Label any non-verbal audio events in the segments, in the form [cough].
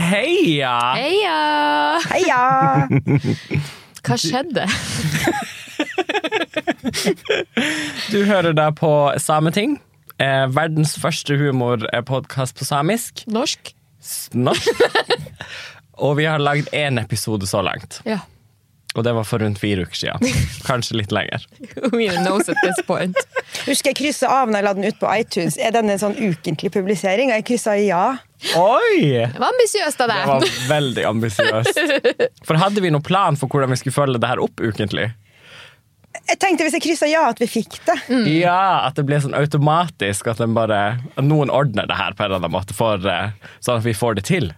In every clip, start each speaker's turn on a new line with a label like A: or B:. A: Heia!
B: Heia!
C: Heia!
B: Hva skjedde?
A: Du hører da på Sameting. Eh, verdens første humorpodkast på samisk.
B: Norsk?
A: S- Norsk. Og vi har lagd én episode så langt.
B: Ja.
A: Og det var for rundt fire uker siden. Kanskje litt lenger.
B: [laughs] We knows at this point.
C: Husker jeg kryssa av når jeg la den ut på iTunes. Er den en sånn ukentlig publisering? Og jeg kryssa ja.
A: Oi!
B: Det var ambisiøst av
A: Det
B: deg.
A: var veldig ambisiøst. For hadde vi noen plan for hvordan vi skulle følge det her opp ukentlig?
C: Jeg tenkte hvis jeg kryssa ja, at vi fikk det.
A: Mm. Ja, at det blir sånn automatisk at, den bare, at noen ordner det her på en eller annen måte, for, eh, sånn at vi får det til.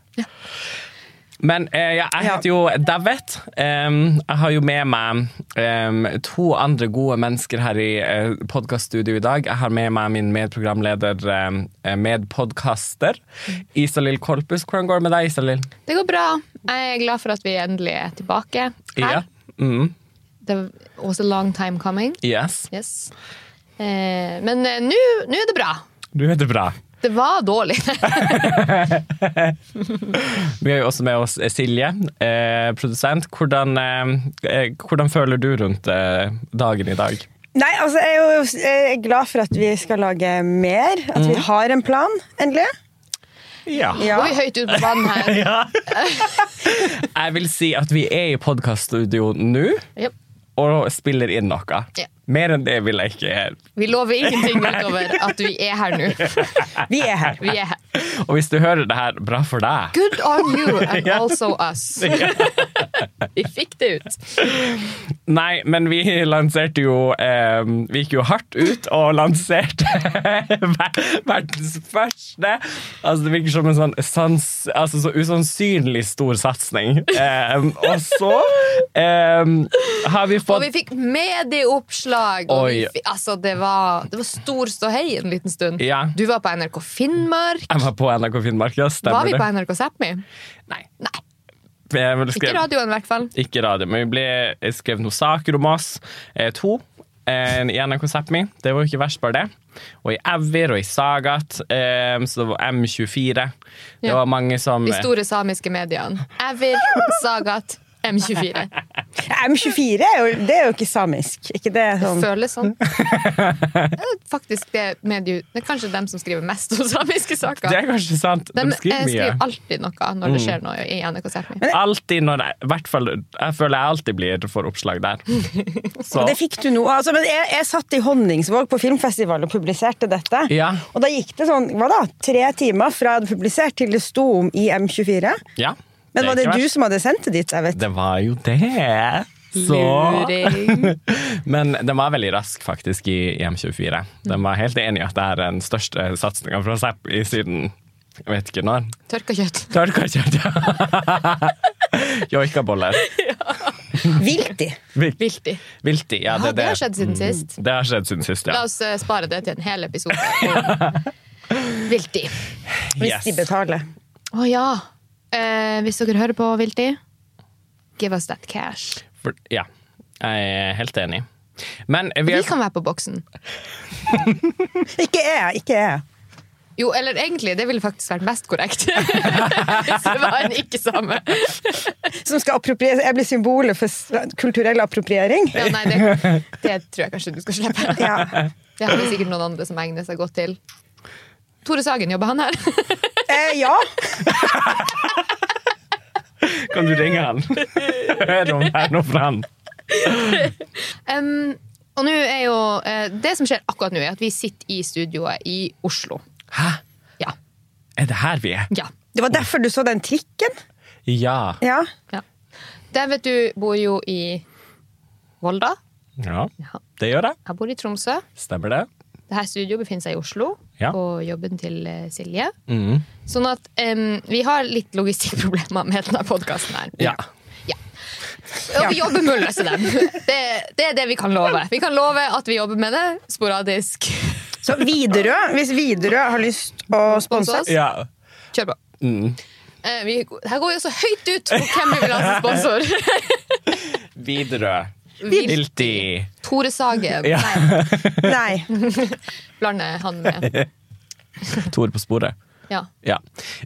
A: Men eh, ja, jeg
C: Ja.
A: heter jo David. Em, jeg har jo med meg em, to andre gode mennesker her i uh, podkaststudio i dag. Jeg har med meg min medprogramleder, um, medpodkaster, Isalill Kolpus. Hvordan går det med deg, Isalill?
B: Det går bra. Jeg er glad for at vi endelig er tilbake
A: Ja.
B: her.
A: Mm,
B: Det was a long time coming.
A: yes.
B: Yes. Eh, men eh, nå nå er det bra.
A: Du heter bra.
B: Det var dårlig. [laughs]
A: Vi har jo også med oss Silje, eh, produsent. Hvordan, eh, eh, hvordan føler du rundt eh, dagen i dag?
C: Nei, altså jeg er jo jeg er glad for at vi skal lage mer. At
A: Mm.
C: vi har en plan, endelig.
A: Ja.
C: Ja.
B: Oi, høyt ut på banen her.
A: [laughs] Jeg vil si at vi er i podkaststudio nå
B: Jep.
A: og spiller inn noe.
B: Ja.
A: Mer enn det vil jeg ikke gjøre.
B: Vi lover ingenting utover at vi er her nå.
C: Vi er her.
B: Vi
A: [laughs]
B: er her.
A: Og hvis du hører det her, bra for deg.
B: Good on you and also
A: [laughs]
B: us. Vi fikk det ut.
A: Nei, men vi [laughs] lanserte jo eh, Vi gikk jo hardt ut og lanserte [laughs] ver- verdens første Altså, det virker som en sånn sans, altså, så usannsynlig stor satsing. Eh, og så eh, har vi
B: Og vi
A: fått
B: fikk medieoppslag. Og vi
A: Oi.
B: fi- altså, det, var, det var stor ståhei en liten stund.
A: Ja.
B: Du var på NRK Finnmark.
A: Jeg var på NRK Finnmark, ja. Stemmer
B: Var vi
A: det?
B: på NRK Sápmi?
A: Nei.
B: Nei.
A: Jeg vil
B: Ikke
A: skrive-
B: radioen, i hvert fall.
A: Ikke radio, men vi ble jeg skrev noen saker om oss. Eh, to. En, I NRK Sápmi. Det var jo ikke verst, bare det. Og i Evir og i Sagat. Eh, så det var M24. Det
B: Ja.
A: var mange som
B: De store samiske mediene. Evir, Sagat, M24.
C: M24 er jo, det er jo ikke samisk. Ikke det sånn
B: Føles sånn. Det er Faktisk det medie... Det er kanskje dem som skriver mest om samiske
A: Det
B: saker.
A: er kanskje sant. De,
B: De eh,
A: skriver mye. Mm.
B: skriver alltid noe når det skjer noe i NRK Sápmi.
A: Alltid når jeg, i hvert fall, jeg føler jeg alltid blir for oppslag
C: [laughs]
A: der. Så
C: Det fikk du nå. Altså, men jeg, jeg satt i Honningsvåg på filmfestival og publiserte dette.
A: Ja.
C: Og da gikk det sånn hva da, tre timer fra jeg hadde publisert til det sto om i M24.
A: ja.
C: Men var
A: er
C: det
A: ikke
C: du
A: verst.
C: som hadde sendt det dit? jeg vet?
A: Det var jo det. Så
B: Luring.
A: Men den var veldig rask faktisk i EM24. Den var helt enig i at det er den største satsninga fra Zapp i siden jeg vet ikke når.
B: Tørka kjøtt.
A: Tørka kjøtt, ja! [laughs] Joikaboller.
C: Vilti.
A: Vilt-
B: Viltig.
A: Vilti, ja, det, Mm.
B: Ja,
A: er
B: det har skjedd siden sist.
A: Det har skjedd siden sist,
B: La
A: ja.
B: oss eh, spare det til en hel episode. om Vilti.
C: Hvis
A: Yes.
C: de betaler.
B: Å ja. Eh, hvis dere hører på Vilti, give us that cash.
A: For, ja. Jeg er helt enig. Men vi
B: Vi
A: er,
B: kan være på boksen.
C: Ikke jeg, ikke jeg.
B: Jo, eller egentlig, det ville faktisk vært mest korrekt. [laughs] hvis det var en ikke-same.
C: Som skal appropriere, jeg blir symbolet for s- kulturell appropriering.
B: Ja, nei, det, det tror jeg kanskje du skal slippe.
C: Ja.
A: [laughs]
B: Det har vi sikkert noen andre som egner seg godt til. Tore Sagen, jobber han her?
C: Eh, ja.
A: kan du ringe han? Hør om det er noe fra han.
B: Em, og nå er jo eh, Det som skjer akkurat nå, er at vi sitter i studioet i Oslo.
A: Hæ?
B: Ja.
A: Er det her vi er?
B: ja.
C: Det var derfor du så den trikken.
A: Ja.
C: Ja.
B: Ja. David, du bor jo i Volda.
A: ja.
B: Ja.
A: Det gjør jeg.
B: Jeg bor i Tromsø.
A: Stemmer det?
B: Dette studioet befinner seg i Oslo,
A: Ja.
B: på jobben til eh, Silje.
A: Mhm.
B: Sånn at em, vi har litt logistikkproblemer med denne podkasten her.
A: Ja.
B: Ja. Og vi jobber med å løse dem. Det, det er det vi kan love. Vi kan love at vi jobber med det sporadisk.
C: Så Widerøe, hvis Widerøe har lyst å sponse
B: Sponse
C: oss
B: oss.
A: ja. Mm.
B: Kjør på. Eh, vi, her går vi jo så høyt ut på hvem vi vil ha som
A: [laughs]
B: sponsor.
A: Widerøe.
B: Vil-
A: Vilti.
B: Tore Sagen.
A: Ja.
B: Nei,
C: Nei.
B: blander han med.
A: Tor på sporet.
B: Ja.
A: Ja.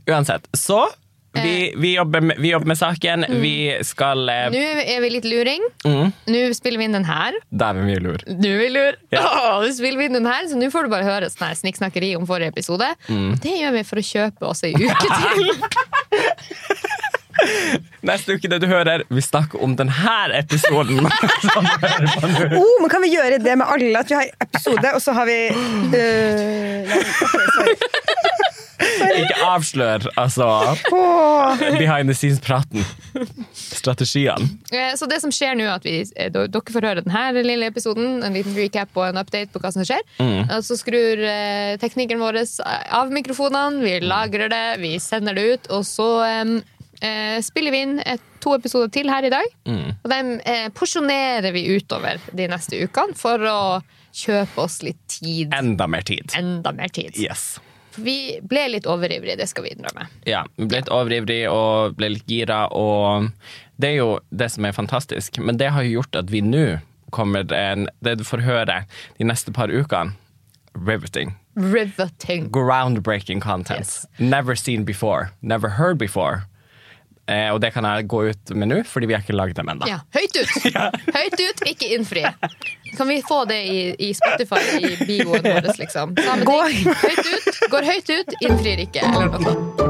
A: Uansett, så Vi, vi, jobber, med, vi jobber med saken. Vi skal eh,
B: Nå er vi litt luring.
A: mm,
B: Nå spiller vi inn den her.
A: Dæven, vi er lur.
B: Du vil lure.
A: Ja.
B: Åh, du spiller inn den her, så nå får du bare høre sånn her snikksnakkeri om forrige episode.
A: Mm.
B: Det gjør vi for å kjøpe oss ei uke
A: [laughs]
B: til.
A: Neste uke, det du hører, vi snakker om denne episoden. Som du hører på nå.
C: Oh, men kan vi gjøre det med alle? At vi har episode, og så har vi øh, nei, ok, sorry.
A: Ikke avslør, altså.
C: Åh.
A: Behind the scenes-praten. Strategiene.
B: Eh, Så det som skjer nå, er at vi, eh, d- dere får høre denne lille episoden, en liten recap og en update på hva som skjer. Og så skrur eh, teknikeren vår eh, av mikrofonene, vi lagrer det, vi sender det ut, og så em, eh, spiller vi inn et, to episoder til her i dag. Og dem eh, porsjonerer vi utover de neste ukene for å kjøpe oss litt tid.
A: Enda mer tid.
B: Enda mer tid.
A: Yes.
B: For vi ble litt overivrige, det skal vi innrømme.
A: Ja, ble litt overivrig og ble litt gira, og det er jo det som er fantastisk. Men det har jo gjort at vi nå kommer en, Det du får høre de neste par ukene, riveting.
B: Riveting.
A: Groundbreaking content.
B: Yes.
A: Never seen before. Never heard before. Eh, og det kan jeg gå ut med nå, fordi vi har ikke lagd dem ennå.
B: [laughs] Ja, høyt ut! Høyt ut, ikke innfri. Kan vi få det i, i Spotify, i bioen vår, liksom? Samme ting. Høyt ut, går høyt ut, innfrir ikke. Eller noe sånt.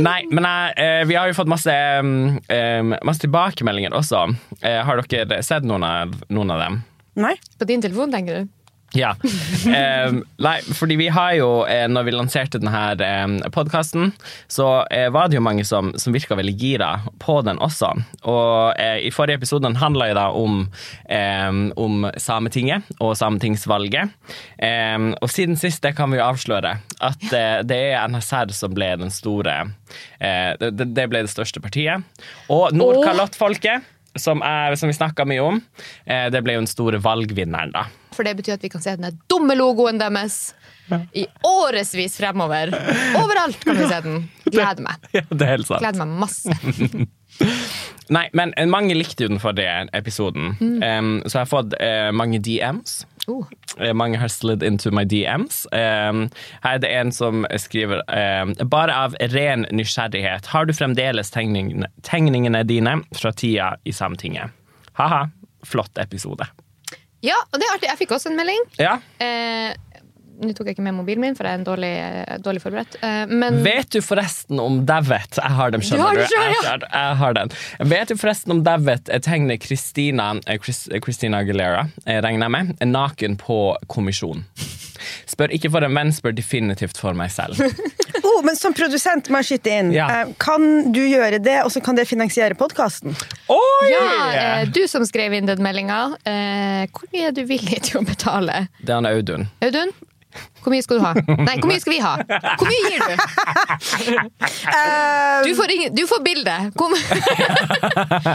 A: Nei, men jeg, eh, vi har jo fått masse, mm, eh, masse tilbakemeldinger også. Eh, har dere sett noen av, noen av dem?
C: Nei.
B: På din telefon, tenker du?
A: Ja. Em, nei, fordi vi har jo, eh, når vi lanserte denne eh, podkasten, så eh, var det jo mange som, som virka veldig gira på den også. Og eh, i forrige episode handla jo da om, em, om Sametinget og sametingsvalget. Em, og siden sist, det kan vi jo avsløre, at eh, det er NSR som ble den store eh, det, det- det ble det største partiet. Og Nordkalottfolket, som, er- som vi snakka mye om, eh, det ble jo den store valgvinneren, da.
B: For det betyr at vi kan se den der dumme logoen deres i årevis fremover. Overalt kan vi se den. Gleder meg.
A: Ja, det er helt sant.
B: Gleder meg masse.
A: Nei, men eh, mange likte jo den forrige episoden. Em, så jeg har fått eh, mange DMs.
B: Oh.
A: Eh, Mange har slid into my DMs. Em, her er det en som skriver em, Bare av ren nysgjerrighet, har du fremdeles tegningene, tegningene dine fra tida i Sametinget? Ha-ha, flott episode.
B: Ja, og det er artig. Jeg fikk også en melding.
A: Ja.
B: Eh, nå tok jeg ikke med mobilen min, for jeg er en dårlig, dårlig forberedt. Eh, men
A: Vet du forresten om Davet Jeg har dem,
B: Du
A: skjønner du.
B: har den selv,
A: Jeg,
B: ja.
A: jeg, jeg har den. Vet du forresten om Davet tegner Christina, eh, Chris, eh, Christina Aguilera, eh, regner jeg med, naken på kommisjon? Spør ikke for en venn, spør definitivt for meg
B: [laughs]
A: selv.
C: Oh, men som produsent må jeg skyte inn.
A: Ja.
C: Eh, Kan du gjøre det, og så kan det finansiere podkasten?
A: Oi!
B: Ja, eh, du som skrev inn den meldinga. Eh, hvor mye er du villig til å betale?
A: Det er han Audun.
B: Audun? Hvor mye skal du ha? Nei, hvor mye skal vi ha? Hvor mye gir du?
C: Eh,
B: Du får, ingen, du får bildet. Kom. Vi [laughs]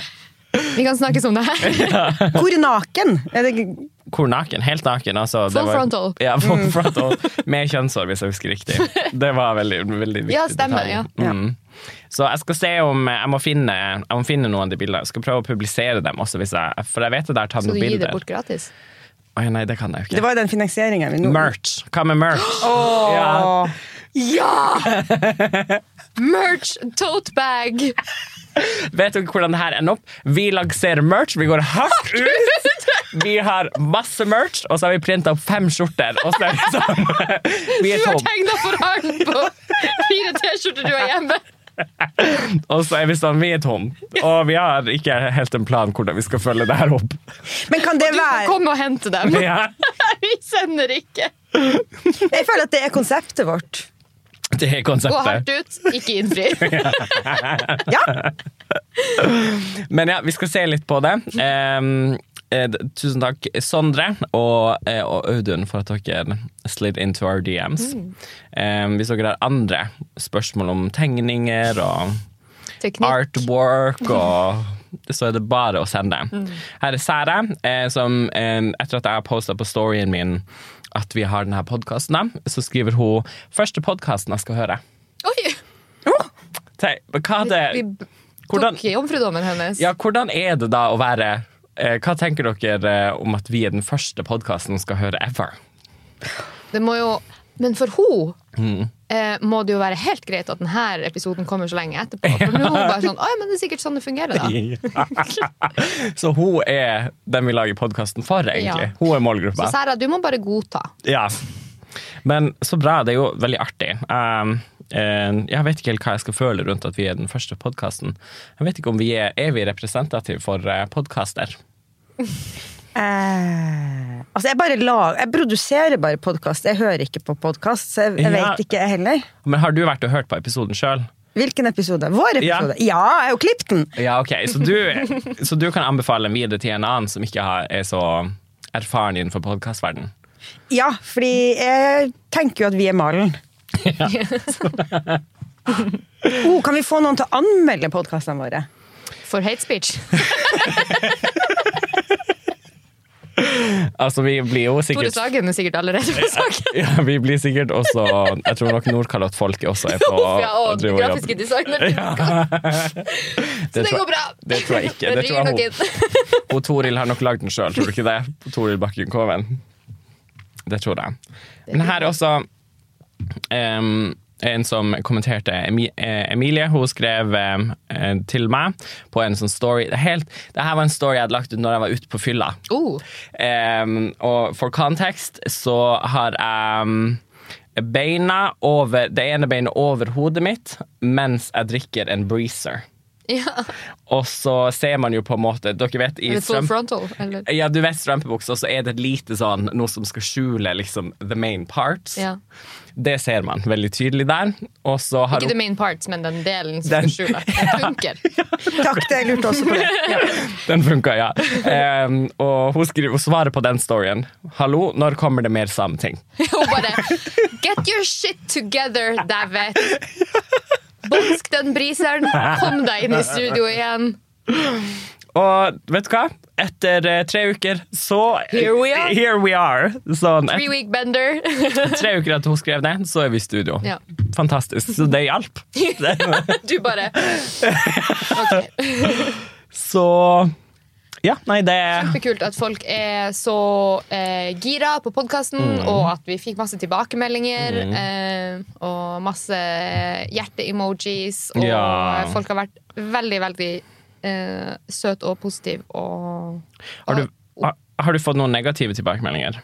B: kan snakkes om det her.
C: hvor naken? Er det
A: Hvor naken? Helt naken. Altså,
B: Full frontal. Mm.
A: Ja, full frontal. Med kjønnshår, hvis jeg husker riktig. Det var veldig, veldig viktig
B: Ja, stemmer,
A: detalj.
B: ja.
A: Mm. Så jeg skal se om jeg må finne, jeg må finne noen av de bildene. Jeg skal prøve å publisere dem også, hvis jeg, for jeg vet at jeg har tatt
B: Så du
A: noen
B: gir det
A: bilder.
B: bort gratis?
A: Oi, nei, det kan jeg jo
C: Det
A: ikke.
C: var jo den finansieringen vi nå
A: Merch. Hva med merch? Ja.
C: Åh.
B: Ja! Merch, tote bag.
A: Vet dere hvordan det her ender opp? Vi lanserer merch. Vi går
C: [laughs]
A: hardt ut. Vi har masse merch, og så har vi printa opp fem skjorter. Og så er vi sånn Vi
B: Du
A: er
B: har
A: tom.
B: tegna for hånd på fire T-skjorter du har hjemme.
A: Og så er vi sånn Vi er tom. Og vi har ikke helt en plan hvordan vi skal følge det her opp.
C: Men kan det
B: Du får
C: være
B: komme og hente dem.
A: Ja.
B: [laughs] Vi sender ikke.
C: Jeg føler at det er konseptet vårt.
A: Det er
B: Gå
A: konseptet.
B: hardt ut, ikke innfri.
A: [laughs]
C: Ja.
A: Men ja, vi skal se litt på det. Ehm, eh, d- tusen takk, Sondre og, eh, og Audun, for at dere slid into our DMs. Ehm, hvis dere har andre spørsmål om tegninger og
B: Teknikk.
A: artwork og så er det bare å sende.
B: Mm.
A: Her er Sære, eh, som eh, etter at jeg har posta på storyen min at vi har denne podkasten, så skriver hun første podkasten jeg skal høre.
B: Oi!
A: Te- Hva er
B: Vi
A: det?
B: b-
A: Hvordan-
B: tok jomfrudommen hennes.
A: Ja, hvordan er det da å være eh, Hva tenker dere eh, om at vi er den første podkasten skal høre ever?
B: Det må jo Men for hun
A: Mm.
B: eh, må det jo være helt greit at denne episoden kommer så lenge etterpå. For nå er hun bare sånn, «Oi, men det er sikkert sånn det fungerer
A: [laughs]
B: da.
A: så hun er den vi lager podkasten for, egentlig.
B: Ja.
A: Hun er målgruppa.
B: Så Sara, du må bare godta.
A: Ja. Men så bra. Det er jo veldig artig. Um, eh, jeg vet ikke helt hva jeg skal føle rundt at vi er den første podkasten. Jeg vet ikke om vi er, er vi representative for uh, podkaster.
C: Eh, altså jeg, bare lag, jeg produserer bare podkast. Jeg hører ikke på podkast, så jeg, jeg
A: Ja.
C: vet ikke jeg heller.
A: Men har du vært og hørt på episoden sjøl?
C: Hvilken episode? Vår
A: Ja.
C: episode? Ja, jeg har jo klippet den!
A: Ja, ok. Så du, [laughs] så du kan anbefale den videre til en annen som ikke har, er så erfaren innenfor podkastverdenen?
C: Ja, fordi jeg tenker jo at vi er malen. oh, kan vi få noen til å anmelde podkastene våre?
B: [laughs] For hate speech.
A: Altså, vi blir jo
B: Tore
A: sikkert
B: Sagen er sikkert allerede på saken.
A: [laughs] ja, Vi blir sikkert også Jeg tror nok Nordkalott-folket også
B: [laughs]
A: er på
B: Uff, ja, og
A: driver og
B: grafiske designer. Så det
A: tror-
B: går bra.
A: [laughs] det tror jeg ikke. Det tror jeg
B: ryker
A: hun-
B: nok inn.
A: Og Toril har nok lagd den sjøl, tror du ikke det? Toril Bakken Koven. Det tror jeg. Men her er også em, en som kommenterte Emi- eh, Emilie. Hun skrev em, eh, til meg på en sånn story det er helt, det her var en story jeg hadde lagt ut når jeg var ute på fylla.
B: Oh,
A: Em, og for kontekst så har jeg em, beina over, det ene beinet over hodet mitt mens jeg drikker en breezer.
B: ja.
A: Og så ser man jo på en måte Dere vet i
B: Eller full
A: strøm-
B: frontal. Eller?
A: ja, du vet strømpebuksa, så er det et lite sånn noe som skal skjule liksom the main parts.
B: Ja.
A: Det ser man veldig tydelig der. Og så har
B: Ikke the
A: hun
B: main parts, men den delen som
A: Den-
B: skjuler. Den
A: [laughs]
B: funker.
C: Takk, det jeg lurte også på det.
A: Den funka, ja. Em, og hun, skriver, hun svarer på den storyen. Hallo, når kommer det mer sameting?
B: [laughs] Hun bare Get your shit together, David. Bonsk den briseren. Kom deg inn i studio igjen.
A: Og vet du hva? Etter eh, tre uker, så
B: Here we are.
A: Here we are. Sånn,
B: Three week bender. [laughs]
A: etter tre uker etter hun skrev det, så er vi i studio.
B: Ja.
A: Fantastisk. Så det hjalp.
B: Du bare Ok.
A: Så Ja, nei, det
B: Kjempekult at folk er så eh, gira på podkasten,
A: Mm.
B: og at vi fikk masse tilbakemeldinger. Eh, og masse hjerte-emojis. Og
A: Ja.
B: folk har vært veldig, veldig eh, søte og positive. Og,
A: Har du,
B: og-
A: har, har du fått noen negative tilbakemeldinger?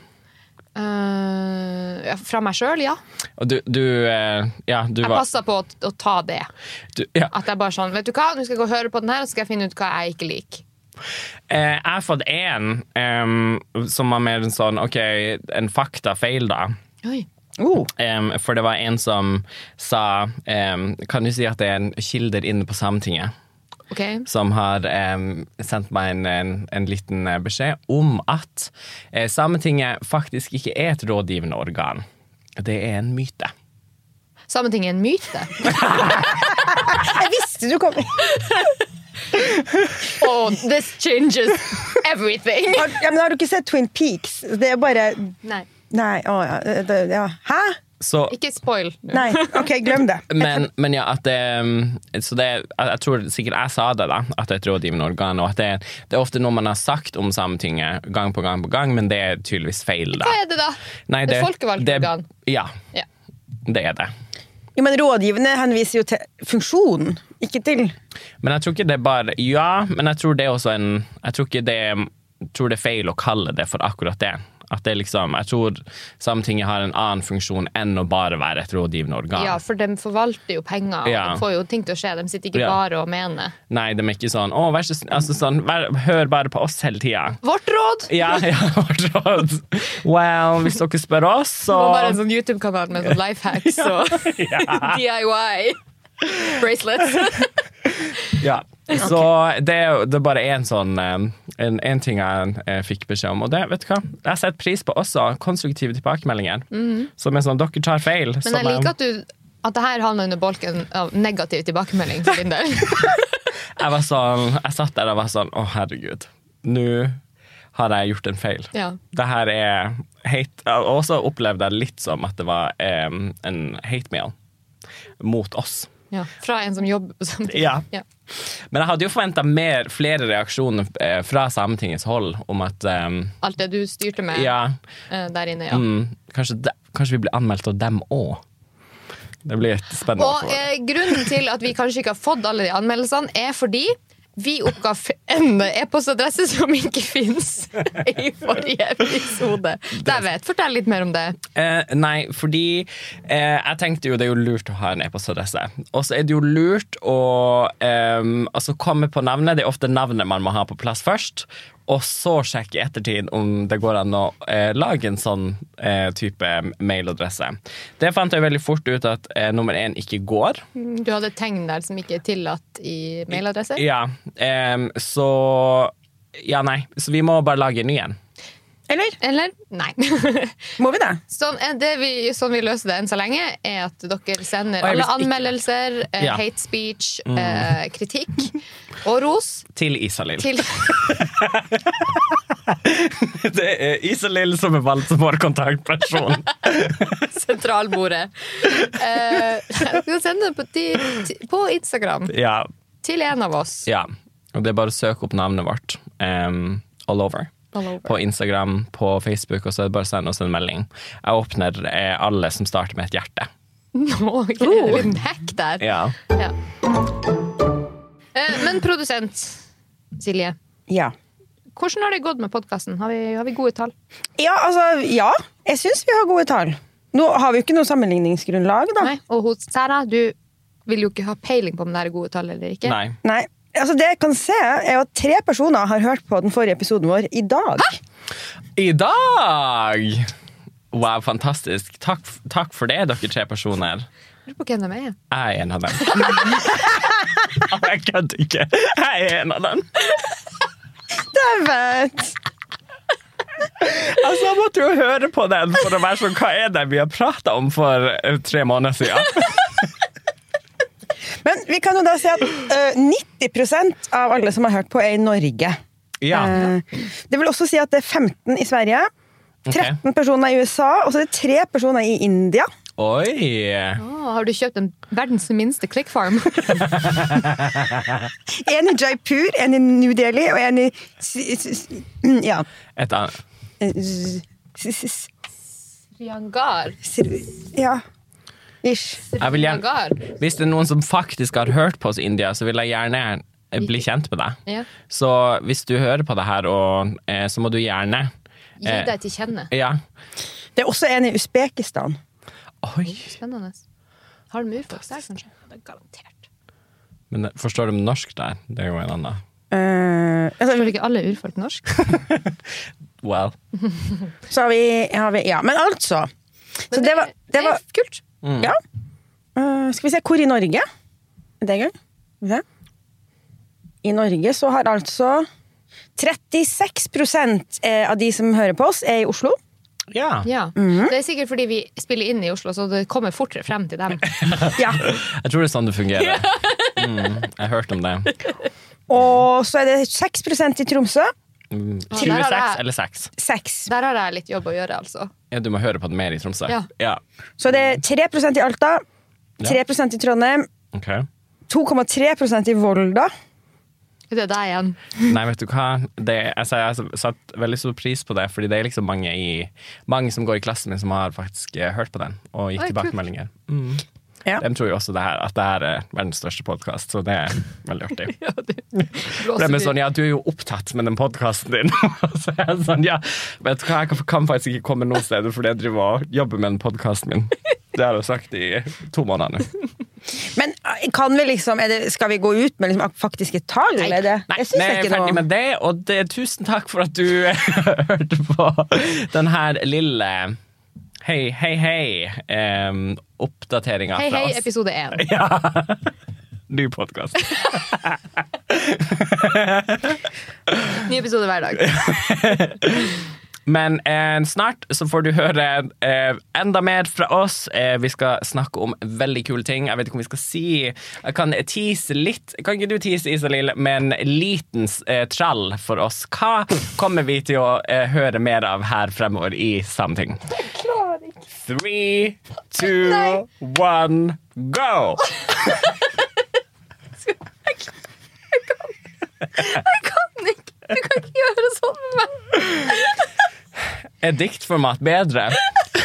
B: eh, ja, fra meg sjøl, ja.
A: Og du, du eh, Ja, du
B: Jeg
A: var
B: passa på å, å ta det.
A: du, ja.
B: At jeg bare sånn, vet du hva, Nå skal jeg gå og høre på den her, og så skal jeg finne ut hva jeg ikke liker.
A: Eh, Jeg har fått én som var mer en sånn OK, en faktafeil, da.
C: Oh,
A: Em, for det var en som sa em, Kan du si at det er en kilder inne på Sametinget
B: Ok,
A: som har em, sendt meg en, en, en liten eh, beskjed om at eh, Sametinget faktisk ikke er et rådgivende organ. Det er en myte.
B: Sametinget er en myte. [laughs]
C: jeg visste du kom
B: Oh, this changes everything!
C: har, ja, men har du ikke sett Twin Peaks? Det er bare
B: Nei,
C: Nei, å ja. Det, ja. Hæ?
A: Så
B: ikke spoil. nå.
C: Nei, ok, glem det.
A: Men, men ja, at det, mm, så det, jeg- jeg tror sikkert jeg sa det, da, at det er et rådgivende organ. Og at det, det er ofte noe man har sagt om Sametinget gang på gang på gang, men det er tydeligvis feil, da.
B: Hva er det, da?
A: Nei,
B: det, er folkevalgt
A: det-
B: organ.
A: Ja,
B: Ja.
A: det er det.
C: Jo, men rådgivende henviser jo til funksjonen, ikke til
A: Men jeg tror ikke det er bare Ja, men jeg tror det er også en Jeg tror ikke det er- tror det er feil å kalle det for akkurat det. At det er liksom Jeg tror Sametinget har en annen funksjon enn å bare være et rådgivende organ.
B: Ja, for de forvalter jo penger, og
A: Ja.
B: de får jo ting til å skje. De sitter ikke
A: Ja.
B: bare og mener.
A: Nei, de er ikke sånn Å, vær så snill altså, sånn, vær, Hør bare på oss hele tida.
B: Vårt råd!
A: Ja, [laughs] ja, vårt råd. Well, hvis dere spør oss, så
B: Det
A: [laughs]
B: var bare en sånn YouTube-kanal med sånn life hacks og [laughs] DIY. Bracelets.
A: ja. Så det, er jo- det er bare én sånn eh, en, en ting jeg eh, fikk beskjed om, og det vet du hva? Jeg setter pris på også konstruktive tilbakemeldinger. Som er sånn dere tar feil.
B: Mhm. Men jeg liker at du at det her havner under bolken av negativ tilbakemelding for din del.
A: jeg, var sånn, jeg satt der og var sånn Å, herregud. Nå har jeg gjort en feil.
B: Ja.
A: Det her er hate Og så opplevde jeg litt som at det var eh, en hate mail mot oss.
B: Ja. Fra en som jobber på Sametinget.
A: Ja.
B: Ja.
A: Men jeg hadde jo forventa flere reaksjoner eh, fra Sametingets hold om at eh,
B: Alt det du styrte med
A: ja,
B: eh, der inne, ja.
A: mm, kanskje, de, Kanskje vi blir anmeldt av dem òg. Det blir et spennende.
B: Og
A: forhold.
B: eh, grunnen til at vi kanskje ikke har fått alle de anmeldelsene, er fordi vi oppga f- en e-postadresse som ikke fins [laughs] i forrige episode. Jeg vet, Fortell litt mer om det.
A: Eh, nei, fordi eh, jeg tenkte jo det er jo lurt å ha en e-postadresse. Og så er det jo lurt å ehm, altså komme på navnet. Det er ofte navnet man må ha på plass først. Og så sjekke i ettertid om det går an å eh, lage en sånn eh, type mailadresse. Det fant jeg veldig fort ut at eh, nummer én ikke går.
B: Du hadde et tegn der som ikke er tillatt i mailadresse.
A: Ja, ehm, så Ja, nei. Så vi må bare lage en ny en.
C: Eller
B: Eller? Nei. [laughs]
C: må vi det?
B: Sånn, er det vi, sånn vi løser det enn så lenge, er at dere sender
A: Og jeg visste
B: alle
A: ikke-
B: anmeldelser, eh,
A: Ja. Mm.
B: hate speech, eh, kritikk og ros
A: Til Isalill. [laughs]
B: til [laughs]
A: Det er Isalill som er valgt som vår kontaktperson.
B: [laughs] sentralbordet. Eh, du kan sende det på, ti- ti- på Instagram
A: ja,
B: til en av oss.
A: Ja, og det er bare å søke opp navnet vårt em, all over.
B: All over.
A: På Instagram, på Facebook, og så er det bare å sende oss en melding. Jeg åpner eh, alle som starter med et hjerte.
B: [laughs] Nå er det en hack der.
A: Ja.
B: Ja. Eh, men produsent Silje,
C: Ja.
B: hvordan har det gått med podkasten? Har, vi- har vi gode tall?
C: Ja, altså, ja. Jeg syns vi har gode tall. Nå har vi jo ikke noe sammenligningsgrunnlag, da.
B: Nei. Og hos Sara, du vil jo ikke ha peiling på om det er gode tall eller ikke.
A: Nei.
C: Nei. Altså, det jeg kan se, er jo at tre personer har hørt på den forrige episoden vår i dag.
A: I dag! Wow, fantastisk. Takk, f- takk for det, dere tre personer.
B: Lurer på hvem de er.
A: Jeg er en av [laughs] dem. Jeg kødder ikke. Jeg er en av dem.
C: Dæven!
A: Altså, jeg måtte jo høre på den for å være sånn Hva er det vi har prata om for eh, tre måneder siden?
C: Men vi kan jo da si at eh, 90 av alle som har hørt på, er i Norge.
A: [laughs] Ja.
C: Eh, det vil også si at det er 15 i Sverige, 13 personer i USA, og så er det tre personer i India.
A: Oi!
B: Å, har du kjøpt den verdens minste [laughs] clickfarm?
C: En i Jaipur, en i New Delhi og en i s- s- s- mm, Ja.
A: Et annet
C: S- s- s-
B: Sriangar.
C: s- Ja. Ish.
A: Jeg vil gjerne- Hvis det er noen som faktisk har hørt på oss i India, så vil jeg gjerne eh, bli kjent med deg.
B: Ja.
A: Så hvis du hører på det her, og, eh, så må du gjerne
B: Gi
A: Eh.
B: deg til kjenne.
A: Ja.
C: Det er også en i Usbekistan.
A: Oi.
B: Spennende. Har de urfolk der, kanskje? Det er garantert.
A: Men eh, forstår du norsk der? Det er jo en annen.
C: Eh, altså,
B: Tror du ikke alle er urfolk norsk?
A: Well.
C: så har vi, har vi Ja, men altså. Så
B: Men
C: det var, det var
B: er Mm. kult.
C: Ja. Eh, skal vi se, hvor i Norge? Er det gøy? Skal vi se. I Norge så har altså 36 eh, av de som hører på oss, er i Oslo.
A: Ja.
B: Ja.
C: Mhm.
B: Det er sikkert fordi vi spiller inn i Oslo, så det kommer fortere frem til dem.
C: Ja.
A: Jeg tror det er sånn det fungerer. Mm, jeg hørte om det.
C: Og så er det 6 i Tromsø.
A: Mm,
B: der har
A: 26
B: jeg-
A: eller 6?
C: 6.
B: Der har jeg litt jobb å gjøre, altså.
A: Ja, du må høre på det mer i Tromsø.
B: Ja.
A: ja.
C: Så det er 3 i Alta, 3 i Trondheim,
A: Ok.
C: 2,3 i Volda.
B: Det er deg igjen.
A: Nei, vet du hva? Det, altså, jeg satte veldig stor pris på det, fordi det er liksom mange, i, mange som går i klassen min som har faktisk eh, hørt på den, og
B: Oi,
A: gitt
B: kult.
A: tilbakemeldinger. Mm.
C: Ja.
A: De tror jo også det her, at det her er verdens største podkast, så det er veldig
B: [laughs]
A: artig.
B: Ja,
A: For
B: du
A: de er
B: blåser
A: sånn, ja, du er jo opptatt med den podkasten din. [laughs] Og så er jeg sånn, ja, vet du hva, jeg kan- kan faktisk ikke komme noe sted fordi jeg driver og jobber med den podkasten min. Det har jeg sagt i to måneder nå.
C: Men eh, kan vi liksom, er det, skal vi gå ut med liksom, faktiske tall?
B: Nei,
C: er det? jeg syns
A: vi er
C: ikke
A: ferdig
C: noe.
A: med det, og det, tusen takk for at du eh, [laughs] hørte på den her lille hei, hei, hei um, oppdateringa
B: Hei,
A: fra
B: hei,
A: oss.
B: episode én.
A: Ny podkast.
B: Ny episode hver
A: [laughs]
B: dag.
A: Men eh, snart så får du høre eh, enda mer fra oss. Eh, vi skal snakke om veldig kule ting. Jeg vet ikke om vi skal si Jeg kan tease litt. Kan ikke du tease, Isalill, med en liten eh, trall for oss? Hva kommer vi til å eh, høre mer av her fremover i Samting? Three, two,
B: Nei.
A: one, go!
B: Jeg kan ikke! Du kan ikke gjøre sånn med meg.
A: Er diktformat bedre?
B: [laughs]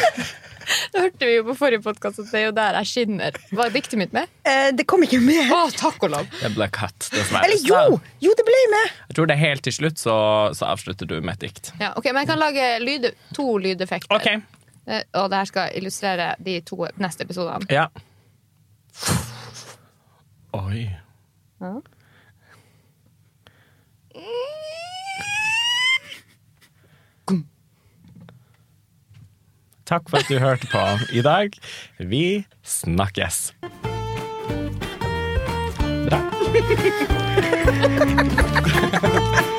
B: Det hørte vi jo på forrige podkast at det er jo der jeg skinner. Hva er diktet mitt med?
C: Eh, det kom ikke med.
B: Å, takk og lov!
A: Det ble cut, dessverre.
C: Eller jo! Jo, det ble med.
A: Jeg tror det er helt til slutt, så, så avslutter du med et dikt.
B: Ja, ok, Men jeg kan lage lyde, to lydeffekter.
A: OK.
B: Eh, Og det her skal illustrere de to neste episodene.
A: Ja. Oi. Takk for at du hørte på i dag. Vi snakkes. Bra.